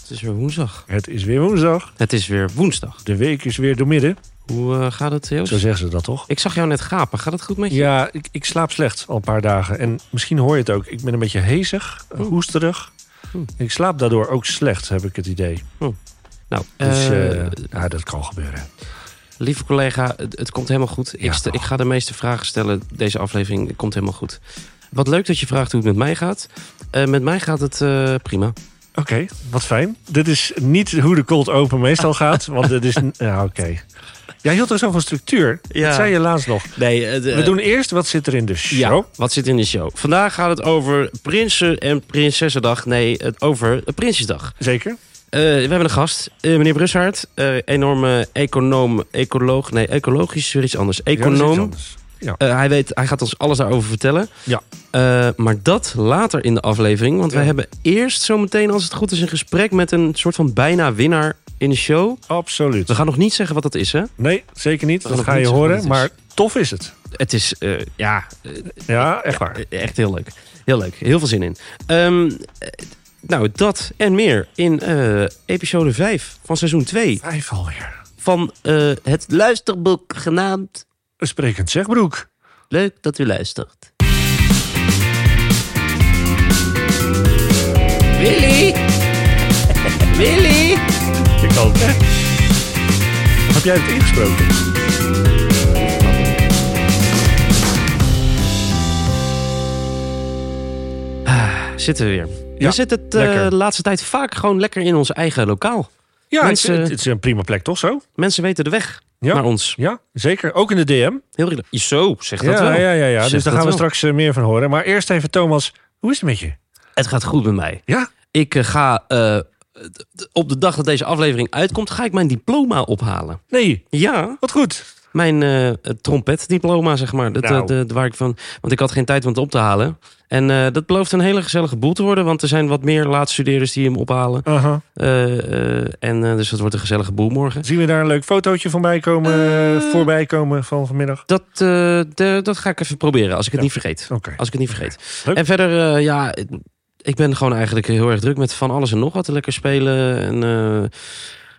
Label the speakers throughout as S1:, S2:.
S1: Het is weer woensdag.
S2: Het is weer woensdag.
S1: Het is weer woensdag.
S2: De week is weer doormidden.
S1: Hoe eh, gaat het, Joost?
S2: Zo zeggen ze dat toch?
S1: Ik zag jou net gapen. Gaat het goed met je?
S2: Ja, ik, ik slaap slecht al een paar dagen. En misschien hoor je het ook. Ik ben een beetje hezig, eh, hoesterig.
S1: Oeh.
S2: Ik slaap daardoor ook slecht, heb ik het idee.
S1: Nou,
S2: Dus
S1: eh,
S2: eh, ja, dat kan gebeuren.
S1: lieve collega, het, het komt helemaal goed.
S2: Ja,
S1: ik, stel-
S2: toch.
S1: ik ga de meeste vragen stellen. Deze aflevering het komt helemaal goed. Wat leuk dat je vraagt hoe het met mij gaat. Eh, met mij gaat het eh, prima.
S2: Oké, wat fijn. Dit is niet hoe de cold open meestal gaat. Want dit is... n- Ja, oké. Jij hield er zo van structuur.
S1: Ja.
S2: Dat zei je laatst nog.
S1: Nee, eh, de-
S2: We doen eerst wat zit er in de show.
S1: Ja, wat zit in de show? Vandaag gaat het over Prinsen- en Prinsessendag. Nee, het over Prinsjesdag.
S2: Zeker?
S1: Eh, we hebben een gast, eh, meneer Brussaert. eh, enorme econoom, ecoloog. Nee, ecologisch is weer iets anders.
S2: Ja, dat is iets
S1: Econoom.
S2: anders. Ja.
S1: Eh, hij, weet, hij gaat ons alles daarover vertellen.
S2: Ja.
S1: Eh, maar dat later in de aflevering. Want wij
S2: Ja.
S1: hebben eerst zometeen, als het goed is, een gesprek met een soort van bijna winnaar in de show.
S2: Absoluut.
S1: We gaan nog niet zeggen wat dat is, hè?
S2: Nee, zeker niet.
S1: gaan
S2: Dat
S1: nog
S2: ga
S1: niet
S2: je
S1: zeggen
S2: horen.
S1: wat het
S2: Maar tof is het.
S1: Het is, eh, ja, eh,
S2: Ja, echt waar.
S1: eh, echt heel leuk. Heel leuk. Heel veel zin in. Ehm, eh, nou, dat en meer in eh, episode 5 van seizoen 2
S2: Vijf alweer.
S1: van eh, het luisterboek genaamd
S2: Een sprekend zegbroek.
S1: Leuk dat u luistert. Willy! Willy!
S2: Je kan het, hè? Heb jij het ingesproken?
S1: Zitten we weer.
S2: Ja,
S1: we zitten het, eh,
S2: lekker.
S1: de laatste tijd vaak gewoon lekker in ons eigen lokaal.
S2: Ja,
S1: Mensen-
S2: ik vind het, het is een prima plek, toch zo?
S1: Mensen weten de weg
S2: Ja.
S1: naar ons.
S2: Ja, zeker. Ook in de DM.
S1: Heel relaxed. Zo, zeg dat
S2: ja,
S1: wel.
S2: ja, ja, ja.
S1: Zeg
S2: Dus daar
S1: dat
S2: gaan we
S1: wel.
S2: straks eh, meer van horen. Maar eerst even, Thomas, hoe is het met je?
S1: Het gaat goed met mij.
S2: Ja?
S1: Ik eh, ga eh, d- d- op de dag dat deze aflevering uitkomt, ga ik mijn diploma ophalen.
S2: Nee,
S1: Ja,
S2: wat goed.
S1: mijn eh, trompetdiploma, zeg maar. Dat,
S2: Nou.
S1: eh, de- waar ik van, want ik had geen tijd om het op te halen. En eh, dat belooft een hele gezellige boel te worden. Want er zijn wat meer laatststudeerders die hem ophalen.
S2: Aha.
S1: Eh, eh, en eh, dus dat wordt een gezellige boel morgen.
S2: Zien we daar een leuk fotootje van bij komen, eh, voorbij komen van vanmiddag?
S1: Dat, eh, de- dat ga ik even proberen als ik het
S2: Ja.
S1: niet vergeet.
S2: Oké.
S1: Als ik het niet vergeet.
S2: Leuk.
S1: En verder, eh, ja, ik- ik ben gewoon eigenlijk heel erg druk met van alles en nog wat. Lekker spelen en eh,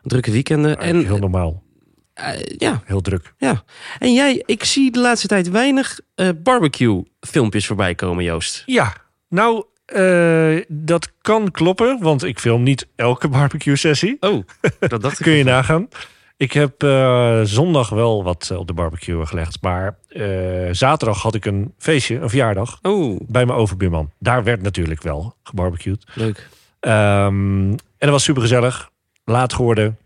S1: drukke weekenden.
S2: En,
S1: En
S2: heel normaal.
S1: eh, ja,
S2: Heel druk.
S1: ja. En jij, ik zie de laatste tijd weinig eh, barbecue-filmpjes voorbij komen, Joost.
S2: Ja, nou, eh, dat kan kloppen, want ik film niet elke barbecue-sessie.
S1: Oh, dat dacht ik.
S2: Kun je nagaan. Ik heb eh, zondag wel wat eh, op de barbecue gelegd. Maar eh, zaterdag had ik een feestje, een verjaardag.
S1: Oh,
S2: Bij mijn overbuurman. Daar werd natuurlijk wel gebarbecued.
S1: leuk.
S2: Ehm, en dat was super gezellig. Laat geworden.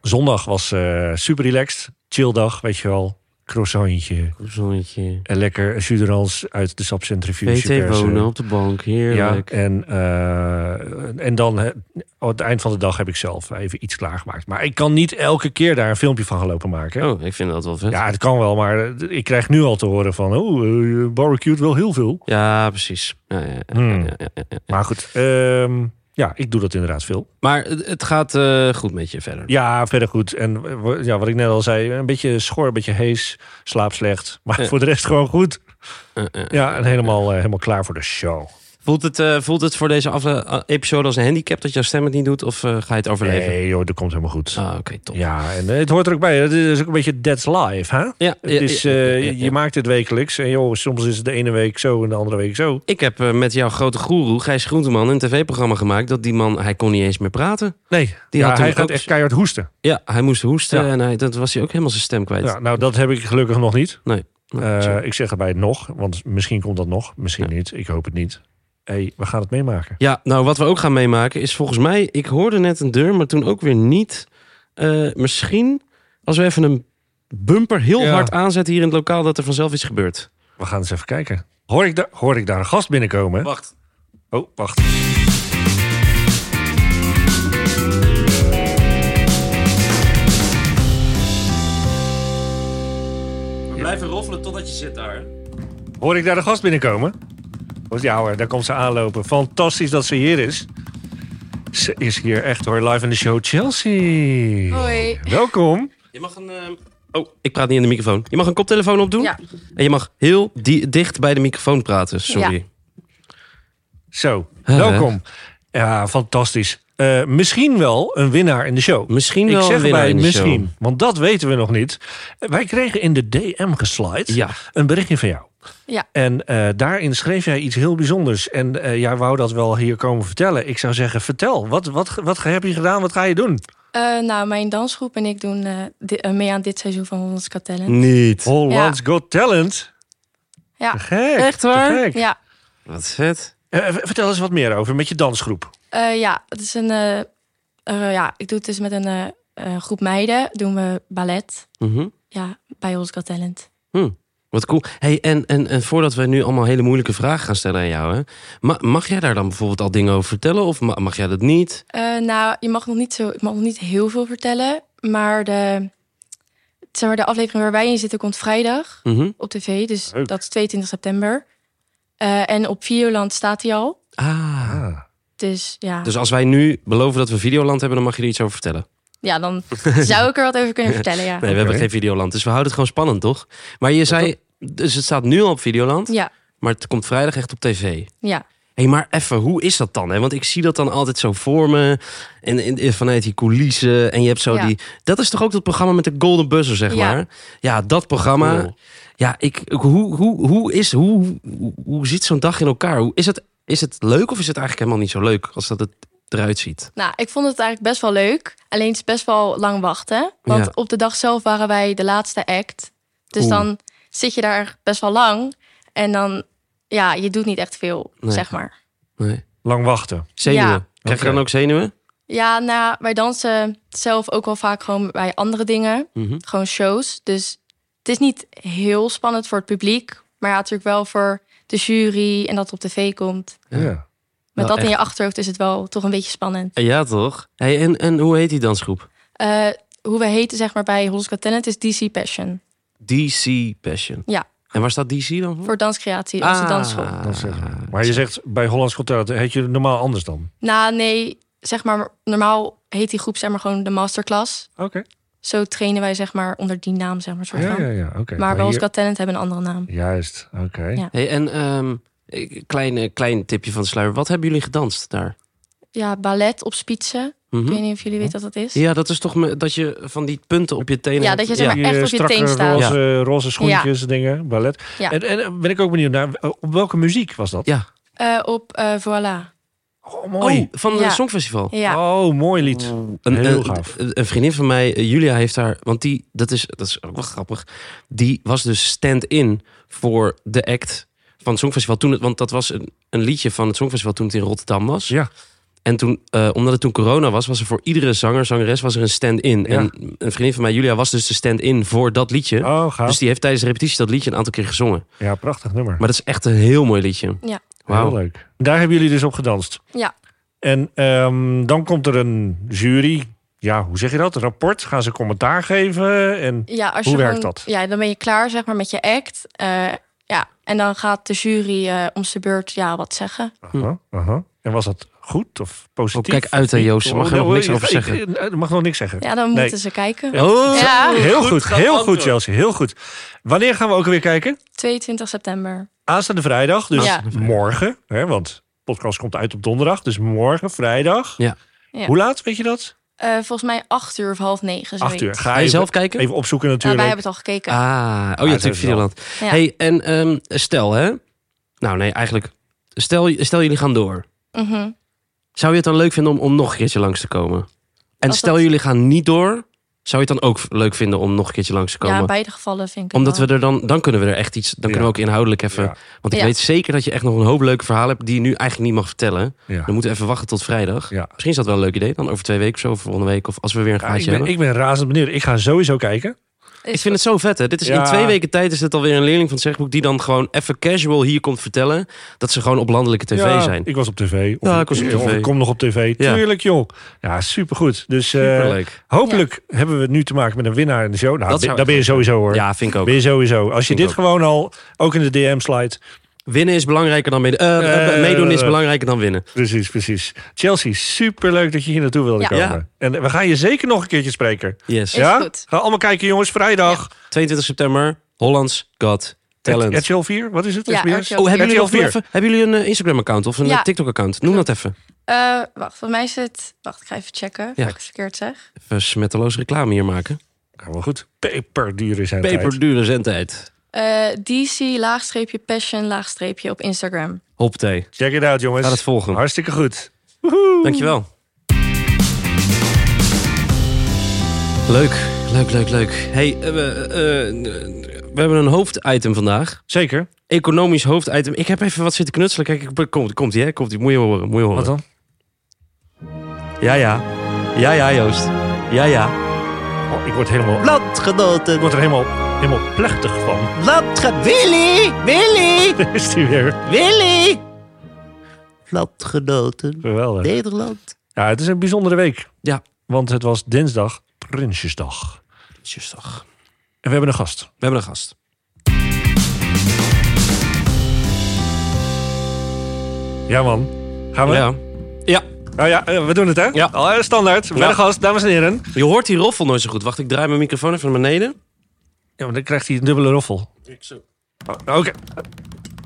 S2: Zondag was super relaxed. Chilldag, weet je wel. Croissantje.
S1: Zonnetje.
S2: En lekker jus de rans uit de sapcentrifuge.
S1: VT
S2: persen.
S1: wonen op de bank,
S2: Ja,
S1: heerlijk.
S2: en, eh, en dan eh, aan het eind van de dag heb ik zelf even iets klaargemaakt. Maar ik kan niet elke keer daar een filmpje van gaan lopen maken.
S1: Oh, ik vind dat wel vet. Ja,
S2: Ja, het kan wel, maar eh, ik krijg nu al te horen van... oh, eh, je barbecued wel heel veel.
S1: precies. Ja, ja, ja,
S2: Hmm.
S1: ja, ja, ja, ja.
S2: Maar goed, ehm, ja, ik doe dat inderdaad veel.
S1: Maar het, het gaat eh, goed met je verder.
S2: Ja, verder goed. En eh, wa- ja, wat ik net al zei, een beetje schor, een beetje hees, slaap slecht. Maar
S1: Eh.
S2: voor de rest gewoon goed.
S1: Eh, eh.
S2: Ja, en helemaal, eh, helemaal klaar voor de show.
S1: Voelt, het, eh, voelt het voor deze afle- eh, episode als een handicap dat jouw stem het niet doet? Of eh, ga je het overleven?
S2: Nee joh, dat komt helemaal goed.
S1: Ah, oké, top.
S2: Ja, en eh, het hoort er ook bij. Het is ook een beetje that's life, hè?
S1: Ja,
S2: Het
S1: ja,
S2: is,
S1: ja,
S2: eh,
S1: ja, ja, ja.
S2: Je maakt het wekelijks. En joh, soms is het de ene week zo en de andere week zo.
S1: Ik heb eh, met jouw grote goeroe, Gijs Groenteman, een tv-programma gemaakt. Dat die man, hij kon niet eens meer praten.
S2: Nee,
S1: Die
S2: ja,
S1: had toen
S2: hij gaat
S1: ook-
S2: echt keihard hoesten.
S1: Ja, hij moest hoesten
S2: Ja.
S1: en hij, dat was hij ook helemaal zijn stem kwijt.
S2: Ja, nou, dat heb ik gelukkig nog niet.
S1: Nee.
S2: Eh,
S1: Zo.
S2: ik zeg erbij nog, want misschien komt dat nog. Misschien niet. Ik hoop het niet. hey, we gaan het meemaken.
S1: Ja, nou wat we ook gaan meemaken is volgens mij, ik hoorde net een deur, maar toen ook weer niet. Eh, misschien als we even een bumper heel
S2: Ja.
S1: hard aanzetten hier in het lokaal, dat er vanzelf iets gebeurt.
S2: We gaan eens even kijken. Hoor ik, da- hoor ik daar een gast binnenkomen?
S1: Wacht.
S2: Oh, wacht.
S1: We blijven roffelen totdat je zit daar.
S2: Hoor ik daar een gast binnenkomen? Oh, Ja hoor, daar komt ze aanlopen. Fantastisch dat ze hier is. Ze is hier echt hoor, live in de show Chelsea.
S3: Hoi.
S2: Welkom.
S1: Je mag een. ehm, Oh, ik praat niet in de microfoon. Je mag een koptelefoon opdoen.
S3: Ja.
S1: En je mag heel di- dicht bij de microfoon praten. Sorry.
S2: Zo,
S1: Huh.
S2: welkom. Ja, fantastisch. eh, misschien wel een winnaar in de show.
S1: Misschien
S2: Ik
S1: wel
S2: zeg
S1: een winnaar
S2: erbij
S1: in de
S2: misschien,
S1: show.
S2: want dat weten we nog niet. Eh, Wij kregen in de DM geslide
S1: Ja,
S2: een berichtje van jou.
S3: Ja.
S2: En eh, daarin schreef jij iets heel bijzonders. En eh, jij wou dat wel hier komen vertellen. Ik zou zeggen, vertel. Wat, wat, wat heb je gedaan? Wat ga je doen?
S3: Eh, nou, mijn dansgroep en ik doen eh, di- eh, mee aan dit seizoen van Hollands Got Talent.
S2: Mm.
S1: niet.
S2: Holland's Got Talent.
S3: Ja.
S2: Te Gek.
S1: Echt
S2: te
S1: waar?
S2: gek.
S3: Ja,
S1: Wat vet.
S2: Eh, v- vertel eens wat meer over met je dansgroep.
S3: Eh, ja, het is een. eh, eh, ja, ik doe het dus met een eh, eh, groep meiden. Doen we ballet.
S1: Mhm.
S3: Ja, bij Hollands Got Talent.
S1: Wat cool. Hey, en, en, en voordat wij nu allemaal hele moeilijke vragen gaan stellen aan jou, hè, ma- mag jij daar dan bijvoorbeeld al dingen over vertellen? Of ma- mag jij dat niet?
S3: Eh, nou, je mag nog niet zo, ik mag nog niet heel veel vertellen, maar de, zeg maar, de aflevering waar wij in zitten komt vrijdag
S1: Mhm.
S3: op tv, dus
S2: Leuk.
S3: dat is 22 september. Eh, en op Videoland staat hij al,
S1: Ah.
S3: dus ja,
S1: Dus als wij nu beloven dat we Videoland hebben, dan mag je er iets over vertellen.
S3: ja, dan zou ik er wat over kunnen vertellen, ja.
S1: Nee, we hebben geen Videoland, dus we houden het gewoon spannend, toch? Maar je zei, dus het staat nu al op Videoland,
S3: Ja,
S1: maar het komt vrijdag echt op tv.
S3: ja,
S1: Hé, hey, maar even, hoe is dat dan? Hè? Want ik zie dat dan altijd zo voor me. En, en- en vanuit die coulissen. En je hebt zo
S3: Ja.
S1: die... Dat is toch ook dat programma met de Golden Buzzer, zeg
S3: Ja.
S1: maar? Ja, dat programma.
S2: Cool.
S1: Ja, ik, ik- hoe, hoe, hoe, is, hoe, hoe, hoe zit zo'n dag in elkaar? Hoe, is, het, is het leuk of is het eigenlijk helemaal niet zo leuk als dat het eruit ziet?
S3: nou, ik vond het eigenlijk best wel leuk, alleen het is best wel lang wachten, want
S1: Ja.
S3: op de dag zelf waren wij de laatste act, dus
S1: Oeh.
S3: dan zit je daar best wel lang en dan, ja, je doet niet echt veel,
S1: Nee.
S3: zeg maar.
S1: Nee.
S2: Lang wachten.
S1: Zenuwen.
S3: Ja.
S1: Krijg je
S2: Oké.
S1: dan ook zenuwen?
S3: Ja, nou, wij dansen zelf ook wel vaak gewoon bij andere dingen.
S1: Mhm.
S3: Gewoon shows. Dus het is niet heel spannend voor het publiek. Maar ja, natuurlijk wel voor de jury en dat het op tv komt.
S1: Ja.
S2: Ja.
S3: Met
S1: Nou,
S3: dat in je achterhoofd is het wel toch een beetje spannend.
S1: Ja, toch? Hey, en, en hoe heet die dansgroep?
S3: Eh, hoe we heten zeg maar bij Hollands Got Talent is DC Passion.
S1: DC Passion.
S3: Ja.
S1: En waar staat DC dan voor?
S3: Voor danscreatie, onze
S2: Ah.
S3: dansschool.
S2: Dat is eh, echt waar. maar je zegt bij Hollands Got Talent, heet je normaal anders dan?
S3: Nou, nee, zeg maar normaal heet die groep zeg maar gewoon de masterclass.
S2: Oké.
S3: Zo trainen wij zeg maar onder die naam zeg maar soort
S2: Ja,
S3: van.
S2: ja, ja. Oké.
S3: Maar bij
S2: hier-
S3: Hollands Got Talent hebben een andere naam.
S2: Juist, oké.
S3: Ja.
S1: Hey, en ehm, eh, klein, eh, klein tipje van de sluier. Wat hebben jullie gedanst daar?
S3: Ja, ballet op spitsen.
S1: Mhm.
S3: Ik weet niet of jullie weten wat dat is.
S1: Ja, dat is toch me- dat je van die punten op je tenen...
S3: Ja,
S1: hebt.
S3: dat je zeg maar-
S2: Die,
S3: echt
S2: eh,
S3: op je
S2: strakke
S3: teen staan.
S2: Roze, roze schoentjes, dingen, ballet.
S3: Ja.
S2: En, en eh, ben ik ook benieuwd naar, eh, op welke muziek was dat?
S1: Ja.
S3: Eh, op eh, Voilà.
S2: Oh,
S1: Oh,
S2: mooi.
S1: van
S3: Ja.
S1: het Songfestival.
S3: Ja.
S2: Oh, mooi lied.
S1: Een,
S2: Heel
S1: een-
S2: gaaf.
S1: een- een vriendin van mij, eh, Julia, heeft daar... Want die, dat is, dat is ook wel grappig. Die was dus stand-in voor de act van het Songfestival. Toen het, want dat was een, een liedje van het Songfestival toen het in Rotterdam was.
S2: Ja.
S1: En toen, eh, omdat het toen corona was, was er voor iedere zanger, zangeres, was er een stand-in. En een vriendin van mij, Julia, was dus de stand-in voor dat liedje.
S2: Oh, gaaf.
S1: Dus die heeft tijdens de repetitie dat liedje een aantal keer gezongen.
S2: Ja, prachtig nummer.
S1: Maar dat is echt een heel mooi liedje.
S3: Ja.
S1: Wauw.
S2: Heel leuk. Daar hebben jullie dus op gedanst.
S3: Ja.
S2: En ehm, dan komt er een jury. Ja, hoe zeg je dat? Een rapport. Gaan ze commentaar geven? En
S3: Ja, als
S2: Hoe
S3: je
S2: werkt
S3: gewoon-
S2: dat?
S3: Ja, dan ben je klaar zeg maar, met je act. Eh, ja. En dan gaat de jury eh, om zijn beurt ja, wat zeggen.
S2: Aha, aha. En was dat goed of positief?
S1: Hm. Oh, kijk uit, hè,
S2: Of niet?
S1: Joost. Ze mag
S2: Oh,
S1: er nog
S2: nou,
S1: niks
S2: ik-
S1: over
S2: ik-
S1: zeggen.
S2: ik- Er mag nog niks zeggen.
S3: Ja, dan
S2: Nee.
S3: moeten ze kijken.
S1: Oh,
S3: Ja.
S2: Heel
S1: Goed
S2: goed, heel
S1: geantwoord.
S2: goed, Chelsea. Heel goed. Wanneer gaan we ook weer kijken?
S3: 22 september.
S2: Aanstaande vrijdag, dus
S3: Ja.
S2: morgen. Hè, want de podcast komt uit op donderdag. Dus morgen, vrijdag.
S1: Ja.
S3: Ja.
S2: Hoe laat, weet je dat?
S3: Eh, volgens mij 8 uur of half 9.
S2: Acht uur. Ga
S1: Ga je
S2: even-
S1: zelf kijken?
S2: Even opzoeken
S3: Nou,
S2: natuurlijk.
S3: wij hebben het al gekeken.
S1: Ah, oh ja, natuurlijk
S2: sowieso.
S1: Videoland.
S3: Ja.
S1: Hey, en ehm, stel hè. Nou nee, eigenlijk. Stel, stel jullie gaan door.
S3: Mhm.
S1: Zou je het dan leuk vinden om, om nog een keertje langs te komen? En
S3: Als
S1: stel
S3: dat-
S1: jullie gaan niet door. Zou je het dan ook leuk vinden om nog een keertje langs te komen?
S3: Ja, in beide gevallen vind ik het
S1: Omdat
S3: wel.
S1: we er dan, dan kunnen we er echt iets. Dan kunnen we ook inhoudelijk even.
S2: Ja.
S1: Want ik
S3: Ja.
S1: weet zeker dat je echt nog een hoop leuke verhalen hebt die je nu eigenlijk niet mag vertellen.
S2: Ja.
S1: We moeten even wachten tot vrijdag.
S2: Ja.
S1: Misschien is dat wel een leuk idee. Dan over twee weken of zo, of volgende week. Of als we weer een
S2: Ja,
S1: gaatje
S2: ik, ben,
S1: hebben.
S2: ik ben razend benieuwd. Ik ga sowieso kijken.
S1: Ik vind het zo vet, hè? Dit is in
S2: Ja.
S1: twee weken tijd is het alweer een leerling van het zegboek die dan gewoon even casual hier komt vertellen dat ze gewoon op landelijke tv
S2: Ja,
S1: zijn.
S2: Ik was op tv. Of,
S1: Ja, ik was op
S2: of
S1: tv.
S2: ik kom nog op tv.
S1: Ja.
S2: Tuurlijk, joh. Ja, supergoed. Dus eh,
S1: Superleuk.
S2: hopelijk hebben we het nu te maken met een winnaar in de show. Nou,
S1: Dat
S2: dat,
S1: zou
S2: dat ben je
S1: echt leuk
S2: sowieso hoor.
S1: Ja, vind ik ook.
S2: Ben je sowieso. Als je
S1: Vind
S2: dit
S1: ik ook.
S2: gewoon al, ook in de DM-slide.
S1: Winnen is belangrijker dan meedoen. Eh, eh,
S2: Eh,
S1: meedoen is
S2: eh,
S1: belangrijker dan winnen.
S2: Precies, precies. Chelsea, superleuk dat je hier naartoe wilde
S3: Ja.
S2: komen. En we gaan je zeker nog een keertje spreken.
S1: Yes.
S3: Is
S2: ja?
S3: goed.
S2: Ga allemaal kijken jongens, vrijdag.
S1: 22 september, Hollands Got Talent.
S2: RTL 4, wat is het?
S3: Ja,
S2: SBS?
S3: RTL.
S1: oh, hebben jullie, nog
S2: 4?
S1: even, hebben jullie een eh, Instagram-account of een
S3: Ja.
S1: eh, TikTok-account? Noem dat even.
S3: Eh, wacht, van mij is het... Wacht, ik ga even checken of
S1: Ja.
S3: ik het verkeerd zeg.
S1: Even smetteloos reclame hier maken.
S2: Nou, maar goed. Peperdure zijn tijd.
S1: Peperdure zendtijd.
S3: Eh, DC, laagstreepje, passion, laagstreepje op Instagram.
S1: Hoppatee.
S2: Check it out, jongens.
S1: Ga het volgen.
S2: Hartstikke goed.
S1: Dankjewel. Leuk, leuk, leuk, leuk. Hey, eh, we, eh, eh, we hebben een hoofditem vandaag.
S2: Zeker.
S1: Economisch hoofditem. Ik heb even wat zitten knutselen. Kijk, ik- komt, komt die, hè? Komt die. Moet je horen, moet je horen.
S2: Wat dan?
S1: Ja, ja. Ja, ja, Joost. Ja, ja.
S2: Oh, ik word helemaal... Ik
S1: Landgenoten,
S2: word er helemaal, helemaal plechtig van.
S1: landgenoten. Willy, Willy,
S2: Daar is die weer.
S1: Willy. Landgenoten,
S2: Geweldig.
S1: Nederland.
S2: Ja, het is een bijzondere week.
S1: Ja.
S2: Want het was dinsdag Prinsjesdag.
S1: Tjusdag.
S2: En we hebben een gast.
S1: We hebben een gast.
S2: Ja, man. Gaan we?
S1: Ja. Ja,
S2: Nou ja, eh, we doen het, hè?
S1: Ja.
S2: Al, eh, standaard. We
S1: Ja.
S2: hebben een gast, dames en heren.
S1: je hoort die roffel nooit zo goed. Wacht, ik draai mijn microfoon even naar beneden.
S2: Ja, maar dan krijgt hij een dubbele roffel.
S1: Ik zo.
S2: Oh, Oké.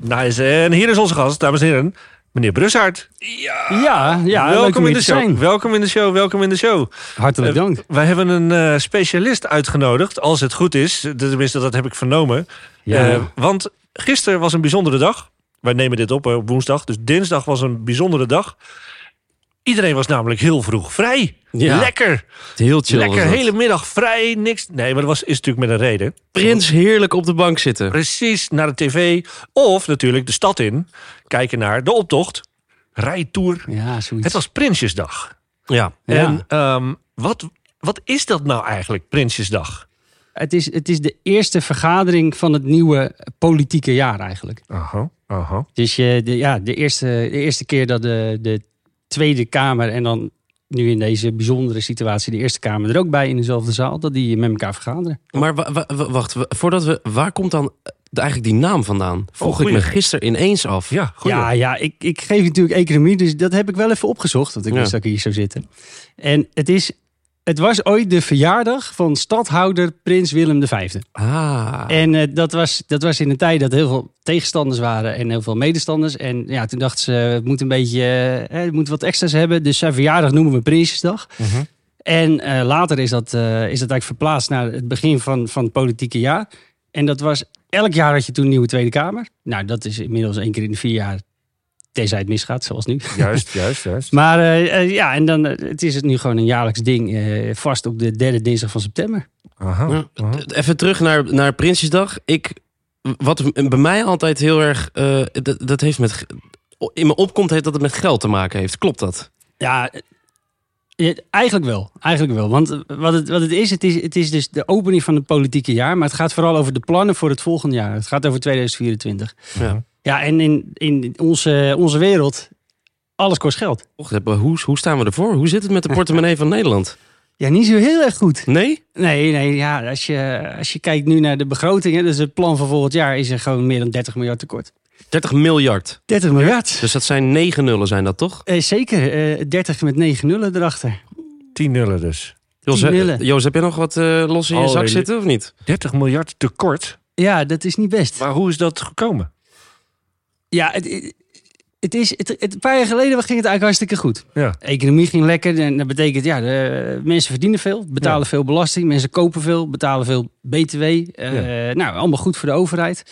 S2: Nice. En hier is onze gast, dames en heren. Meneer Brussaert.
S4: Ja, ja leuk
S2: welkom
S4: om
S2: in
S4: hier
S2: de
S4: te
S2: show.
S4: zijn.
S2: Welkom in de show. Welkom in de show.
S4: Hartelijk
S2: Eh,
S4: dank.
S2: Wij hebben een eh, specialist uitgenodigd, als het goed is. Tenminste, dat heb ik vernomen.
S4: Ja.
S2: Eh, want gisteren was een bijzondere dag. Wij nemen dit op hè, op woensdag. Dus dinsdag was een bijzondere dag. Iedereen was namelijk heel vroeg vrij.
S1: Ja.
S2: Lekker.
S1: Heel chill. was
S2: Lekker.
S1: dat.
S2: Hele middag vrij. Niks. Nee, maar dat was, is natuurlijk met een reden.
S1: Prins heerlijk op de bank zitten.
S2: Precies, naar de tv. Of natuurlijk de stad in. Kijken naar de optocht. Rijtour.
S4: Ja,
S2: Het
S4: zoiets.
S2: was Prinsjesdag.
S1: Ja.
S4: Ja.
S2: En ehm, wat, wat is dat nou eigenlijk, Prinsjesdag?
S4: Het is, het is de eerste vergadering van het nieuwe politieke jaar eigenlijk.
S2: Aha, aha.
S4: Dus je, de, ja, de, eerste, de eerste keer dat de, de Tweede Kamer en dan nu in deze bijzondere situatie de Eerste Kamer er ook bij in dezelfde zaal, dat die met elkaar vergaderen.
S2: Oh.
S1: Maar wa- wa- wa- wacht, wa- voordat we. Waar komt dan de- eigenlijk die naam vandaan? Vroeg ik
S2: Oh, goeie.
S1: me gisteren ineens af.
S2: Ja, goed.
S4: Ja, ja ik, ik geef natuurlijk economie, dus dat heb ik wel even opgezocht, want ik
S1: Ja.
S4: wist dat ik hier zou zitten. En het, is, het was ooit de verjaardag van stadhouder Prins Willem V.
S1: Ah.
S4: En eh, dat, was, dat was in een tijd dat heel veel tegenstanders waren en heel veel medestanders. En ja, toen dachten ze, het moet een beetje, eh, het moet wat extra's hebben. Dus zijn verjaardag noemen we Prinsjesdag.
S2: Mhm.
S4: En eh, later is dat, eh, is dat eigenlijk verplaatst naar het begin van, van het politieke jaar. En dat was, elk jaar had je toen een nieuwe Tweede Kamer. Nou, dat is inmiddels één keer in de vier jaar, tenzij het misgaat, zoals nu.
S2: Juist, juist, juist.
S4: Maar eh, eh, ja, en dan, eh, het is het nu gewoon een jaarlijks ding, eh, vast op de derde dinsdag van september.
S2: Aha,
S1: Ja. Even terug naar, naar Prinsjesdag. Ik, wat m- bij mij altijd heel erg. eh, dat, dat heeft met. g- In me opkomt heeft dat het met geld te maken heeft. Klopt dat?
S4: Ja, eh, eigenlijk wel. Eigenlijk wel. Want eh, wat het, wat het is, het is, het is dus de opening van het politieke jaar. Maar het gaat vooral over de plannen voor het volgende jaar. Het gaat over 2024.
S1: Ja.
S4: Ja, en in, in onze, onze wereld, alles kost geld.
S1: Och, dat- hoe, hoe staan we ervoor? Hoe zit het met de portemonnee van Nederland?
S4: Ja, niet zo heel erg goed.
S1: Nee?
S4: Nee, nee, ja, als je, als je kijkt nu naar de begroting, hè, dus het plan van volgend jaar, is er gewoon meer dan 30 miljard tekort.
S1: 30 miljard.
S4: 30 miljard?
S1: Dus dat zijn negen nullen, zijn dat toch?
S4: Eh, zeker, eh, 30 met 9 nullen erachter.
S2: tien nullen dus.
S1: Jos,
S4: Tien
S1: eh,
S4: nullen.
S1: Jos, heb je nog wat eh, los in je
S2: Oh,
S1: zak
S2: nee.
S1: zitten of niet?
S2: 30 miljard tekort.
S4: Ja, dat is niet best.
S2: Maar hoe is dat gekomen?
S4: Ja, het, het is, het, het- een paar jaar geleden ging het eigenlijk hartstikke goed.
S2: Ja.
S4: Economie ging lekker en dat betekent, ja, de, mensen verdienen veel, betalen
S2: Ja.
S4: veel belasting, mensen kopen veel, betalen veel BTW. eh, Nou, allemaal goed voor de overheid.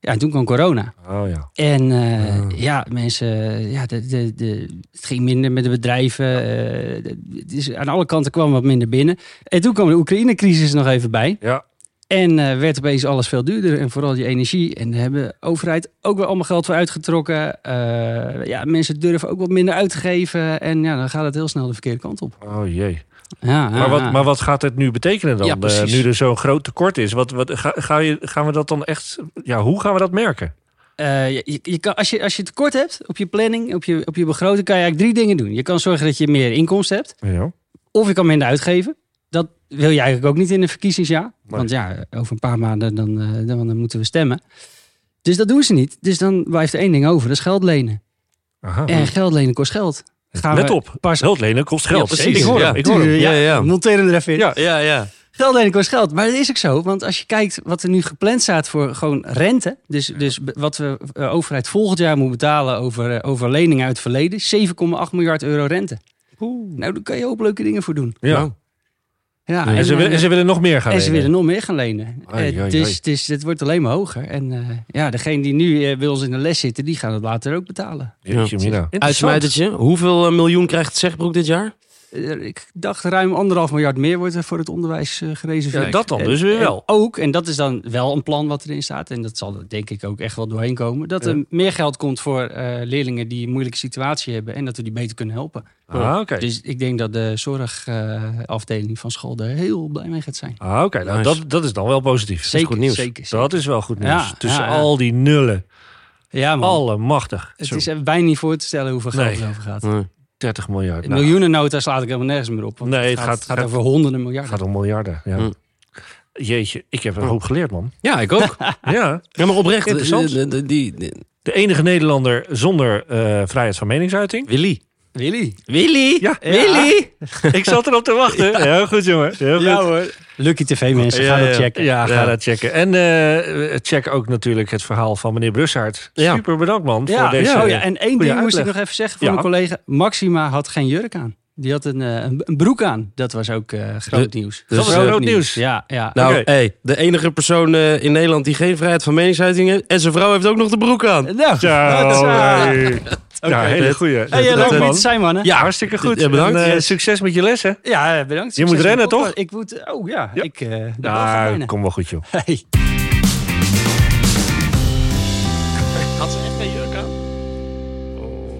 S4: Ja, en toen kwam corona.
S2: Oh ja.
S4: En eh,
S2: Ah.
S4: ja, mensen, ja, de, de, de, het ging minder met de bedrijven. eh, de- het is, aan alle kanten kwam wat minder binnen. En toen kwam de Oekraïne-crisis nog even bij.
S2: Ja,
S4: En eh, werd opeens alles veel duurder. En vooral die energie. En daar hebben de overheid ook wel allemaal geld voor uitgetrokken. Eh, ja, mensen durven ook wat minder uit te geven. En ja, dan gaat het heel snel de verkeerde kant op.
S2: oh jee.
S4: Ja,
S2: Maar wat, maar wat gaat het nu betekenen dan?
S4: Ja,
S2: eh,
S4: precies.
S2: nu er zo'n groot tekort is. Wat, wat, ga, ga je, gaan we dat dan echt... Ja, hoe gaan we dat merken?
S4: Eh, je, je- je kan, als, je, als je tekort hebt op je planning, op je, op je begroting, kan je eigenlijk drie dingen doen. Je kan zorgen dat je meer inkomsten hebt.
S2: Ja.
S4: Of je kan minder uitgeven. Dat wil je eigenlijk ook niet in een verkiezingsjaar. Want ja, over een paar maanden dan, eh, dan, dan moeten we stemmen. Dus dat doen ze niet. Dus dan blijft er één ding over, dat is geld lenen.
S2: Aha.
S4: En geld lenen kost geld. Gaan
S2: Let
S4: we
S2: op,
S4: pas
S2: geld lenen kost geld.
S1: Ja, precies.
S2: Ik hoor
S1: Ja.
S2: hem, ik hoor hem.
S1: Ja, ja.
S4: Monteer hem er even in.
S2: Ja.
S1: Ja, ja.
S4: Geld en kost geld. Maar dat is ook zo. Want als je kijkt wat er nu gepland staat voor gewoon rente. Dus, dus b- wat we eh, overheid volgend jaar moet betalen over, eh, over leningen uit het verleden. 7,8 miljard euro rente. Nou, daar kan je ook leuke dingen voor doen.
S2: Ja.
S1: Nou,
S4: Ja,
S1: En
S2: En, ze
S4: dan, eh,
S2: willen, en ze willen nog meer gaan
S4: en ze
S2: lenen.
S4: willen nog meer gaan lenen.
S1: Ai,
S4: Eh,
S1: ai, ai.
S4: dus, dus het wordt alleen maar hoger. En eh, ja, degene die nu eh, bij ons in de les zitten, die gaan het later ook betalen.
S2: Jeetje, Mina.
S1: Uitsmijtertje. Hoeveel eh, miljoen krijgt Zegbroek dit jaar?
S4: Eh, ik dacht ruim anderhalf miljard meer wordt er voor het onderwijs eh, gereserveerd.
S2: Ja, dat dan
S4: En-
S2: dus weer
S4: en
S2: wel.
S4: ook, en dat is dan wel een plan wat erin staat. En dat zal er denk ik ook echt wel doorheen komen. Dat er meer geld komt voor eh, leerlingen die een moeilijke situatie hebben. En dat we die beter kunnen helpen.
S2: Ah, oké.
S4: Dus ik denk dat de zorgafdeling van school er heel blij mee gaat zijn.
S2: Ah, oké. Nou,
S1: Nice.
S2: dat, dat is dan wel positief.
S1: Zeker, goed nieuws.
S4: Zeker, zeker.
S2: Dat is wel goed nieuws.
S4: Ja,
S2: Tussen
S4: ja, ja.
S2: al die nullen.
S4: Ja, man.
S2: Allemachtig.
S4: het
S2: Zo,
S4: is bijna niet voor te stellen hoeveel geld
S2: Nee.
S4: het over gaat.
S1: Nee.
S2: 30 miljard. Nou,
S4: Miljoenennota slaat ik helemaal nergens meer op. Want
S2: Nee,
S4: het
S2: het
S4: gaat,
S2: gaat-
S4: het gaat
S2: het-
S4: over honderden
S2: het
S4: miljarden.
S2: gaat om miljarden. Ja.
S1: Hm.
S2: Jeetje, ik heb een hoop geleerd, man.
S1: Ja, ik ook.
S2: Ja.
S1: ja, maar oprecht.
S2: Interessant.
S1: eh, eh, Die, die-
S2: De enige Nederlander zonder eh, vrijheid van meningsuiting.
S1: Willy.
S4: Willy.
S1: Willy?
S2: Ja.
S1: Willy?
S2: ik zat erop te wachten. Ja. Eh, Heel goed, jongen. Heel goed.
S4: hoor. Lucky TV mensen,
S2: Ja,
S4: ga dat
S2: ja.
S4: checken.
S2: Ja, ga
S1: Ja.
S2: dat checken. En eh, check ook natuurlijk het verhaal van meneer Brussaert.
S1: Ja.
S2: Super bedankt, man.
S4: Ja,
S2: voor deze,
S4: oh ja, en één ding
S2: goede
S4: moest ik
S2: uitleg.
S4: nog even zeggen voor
S2: Ja.
S4: mijn collega. Maxima had geen jurk aan. Die had een, eh, een, een broek aan. Dat was ook eh, groot
S1: De-
S4: nieuws.
S1: dus,
S2: eh, groot nieuws.
S4: Ja, ja.
S1: Nou,
S2: Oké.
S1: hey, de enige persoon eh, in Nederland die geen vrijheid van meningsuiting heeft. En zijn vrouw heeft ook nog de broek aan.
S4: Nou,
S2: Zo,
S4: dat is, eh,
S2: hey.
S4: Oké,
S2: ja, hele
S1: dit-
S2: goeie.
S4: hey,
S2: Bedankt,
S4: leuk om hier
S2: man.
S4: te zijn, mannen.
S2: Ja, hartstikke goed.
S1: Ja, bedankt.
S2: En, eh,
S1: Yes.
S2: Succes met je lessen.
S4: Ja, eh, bedankt.
S2: Je
S4: Succes
S2: moet rennen,
S4: met de podcast.
S2: toch?
S4: Ik moet... Oh ja,
S2: Ja.
S4: ik eh ben wel gaan
S2: Nou,
S4: rennen.
S2: kom wel goed, joh.
S4: Hey.
S1: Had ze echt geen jurk aan?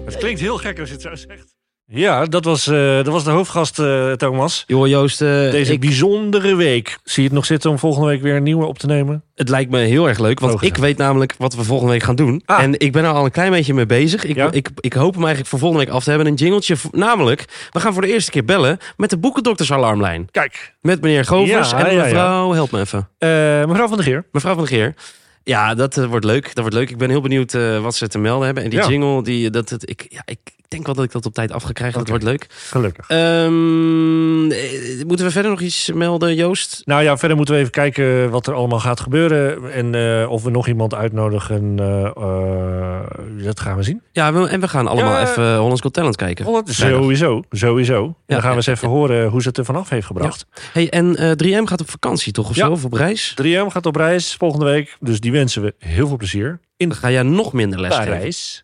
S2: Het klinkt heel gek als je het zo zegt. Ja, dat was, eh, dat was de hoofdgast, eh, Thomas.
S1: Joh, Joost, eh,
S2: Deze
S1: ik-
S2: bijzondere week. Zie je het nog zitten om volgende week weer een nieuwe op te nemen?
S1: het lijkt me heel erg leuk. Want
S2: Oh,
S1: ik
S2: gezellig.
S1: weet namelijk wat we volgende week gaan doen.
S2: Ah.
S1: En ik ben er al een klein beetje mee bezig. Ik,
S2: Ja?
S1: ik, ik hoop hem eigenlijk voor volgende week af te hebben. Een jingletje. Vo- Namelijk, we gaan voor de eerste keer bellen met de boekendoktersalarmlijn.
S2: Kijk,
S1: Met meneer Govers
S2: Ja,
S1: en
S2: ja, ja.
S1: mevrouw... Help me even.
S2: eh, mevrouw van der Geer.
S1: Mevrouw van de Geer. Ja, dat eh, wordt leuk. Dat wordt leuk. Ik ben heel benieuwd eh, wat ze te melden hebben. En die
S2: Ja.
S1: jingle, die, eh, dat, het, ik, ja, ik ik denk wel dat ik dat op tijd af ga krijgen. Dat
S2: Oké.
S1: wordt leuk.
S2: Gelukkig.
S1: Ehm, eh, moeten we verder nog iets melden, Joost?
S2: Nou ja, verder moeten we even kijken wat er allemaal gaat gebeuren. En eh, of we nog iemand uitnodigen. eh, eh, dat gaan we zien.
S1: Ja, we- en we gaan allemaal
S2: Ja. Oh.
S1: even Hollands Got Talent kijken. Vrijdag.
S2: Sowieso, sowieso. En
S1: Ja,
S2: dan gaan
S1: ja,
S2: we eens even horen eh, hoe ze het er vanaf heeft gebracht.
S1: Hey, en eh, 3M gaat op vakantie toch of
S2: Ja.
S1: zo? Of op reis?
S2: 3M gaat op reis volgende week. Dus die wensen we heel veel plezier. In
S1: Dan ga jij nog minder les geven.
S2: Parijs.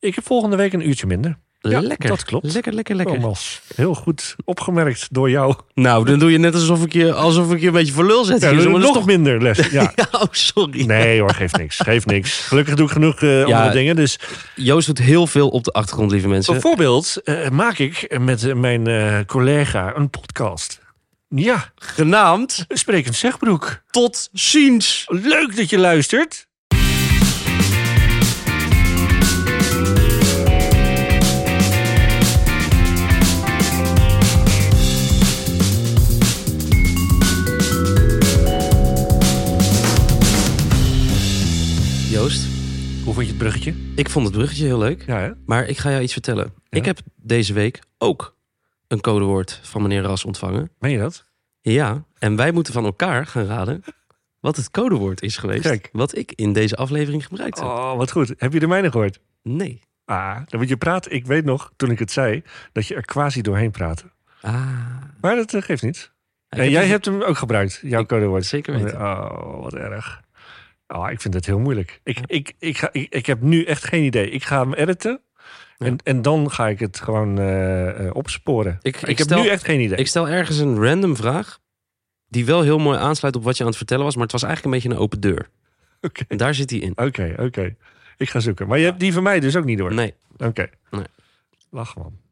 S2: Ik heb volgende week een uurtje minder. Ja,
S1: lekker.
S2: dat klopt.
S1: Lekker, lekker, lekker.
S2: Thomas, heel goed opgemerkt door jou.
S1: Nou, dan doe je net alsof ik je, alsof ik je een beetje voor lul zet.
S2: Ja,
S1: hier, zo, maar dat
S2: nog
S1: is toch...
S2: minder les. Ja.
S1: Ja, oh, sorry.
S2: Nee hoor, geeft niks. Geeft niks. Gelukkig doe ik genoeg eh, andere dingen. Dus
S1: Joost doet heel veel op de achtergrond, lieve mensen.
S2: bijvoorbeeld eh, maak ik met eh, mijn eh, collega een podcast. Ja,
S1: Genaamd
S2: sprekend zegbroek.
S1: Tot Ziens.
S2: Leuk dat je luistert.
S1: Joost,
S2: Hoe vond je het bruggetje?
S1: ik vond het bruggetje heel leuk.
S2: Ja, hè?
S1: Maar ik ga jou iets vertellen. Ik heb deze week ook een codewoord van meneer Ras ontvangen.
S2: meen je dat?
S1: Ja, en wij moeten van elkaar gaan raden wat het codewoord is geweest.
S2: Kijk.
S1: Wat ik in deze aflevering gebruikt heb.
S2: Oh, wat goed. Heb je de mijne gehoord?
S1: Nee.
S2: Ah, dan moet je praat. Ik weet nog, toen ik het zei, dat je er quasi doorheen praatte.
S1: Ah.
S2: Maar dat eh, geeft niet.
S1: Ik
S2: en
S1: heb
S2: jij
S1: dus-
S2: hebt hem ook gebruikt, jouw codewoord.
S1: zeker weten.
S2: Oh, wat erg. Oh, ik vind het heel moeilijk. Ik, ik, ik, ga, ik, ik heb nu echt geen idee. Ik ga hem editen. En, en dan ga ik het gewoon eh, eh, opsporen.
S1: Ik-
S2: Ik,
S1: ik
S2: heb
S1: stel-
S2: nu echt geen idee.
S1: Ik stel ergens een random vraag. Die wel heel mooi aansluit op wat je aan het vertellen was. Maar het was eigenlijk een beetje een open deur.
S2: Oké.
S1: En daar zit hij in.
S2: Oké, oké. Ik ga zoeken. Maar je hebt die van mij dus ook niet door.
S1: Nee.
S2: Oké.
S1: Nee.
S2: Lach man.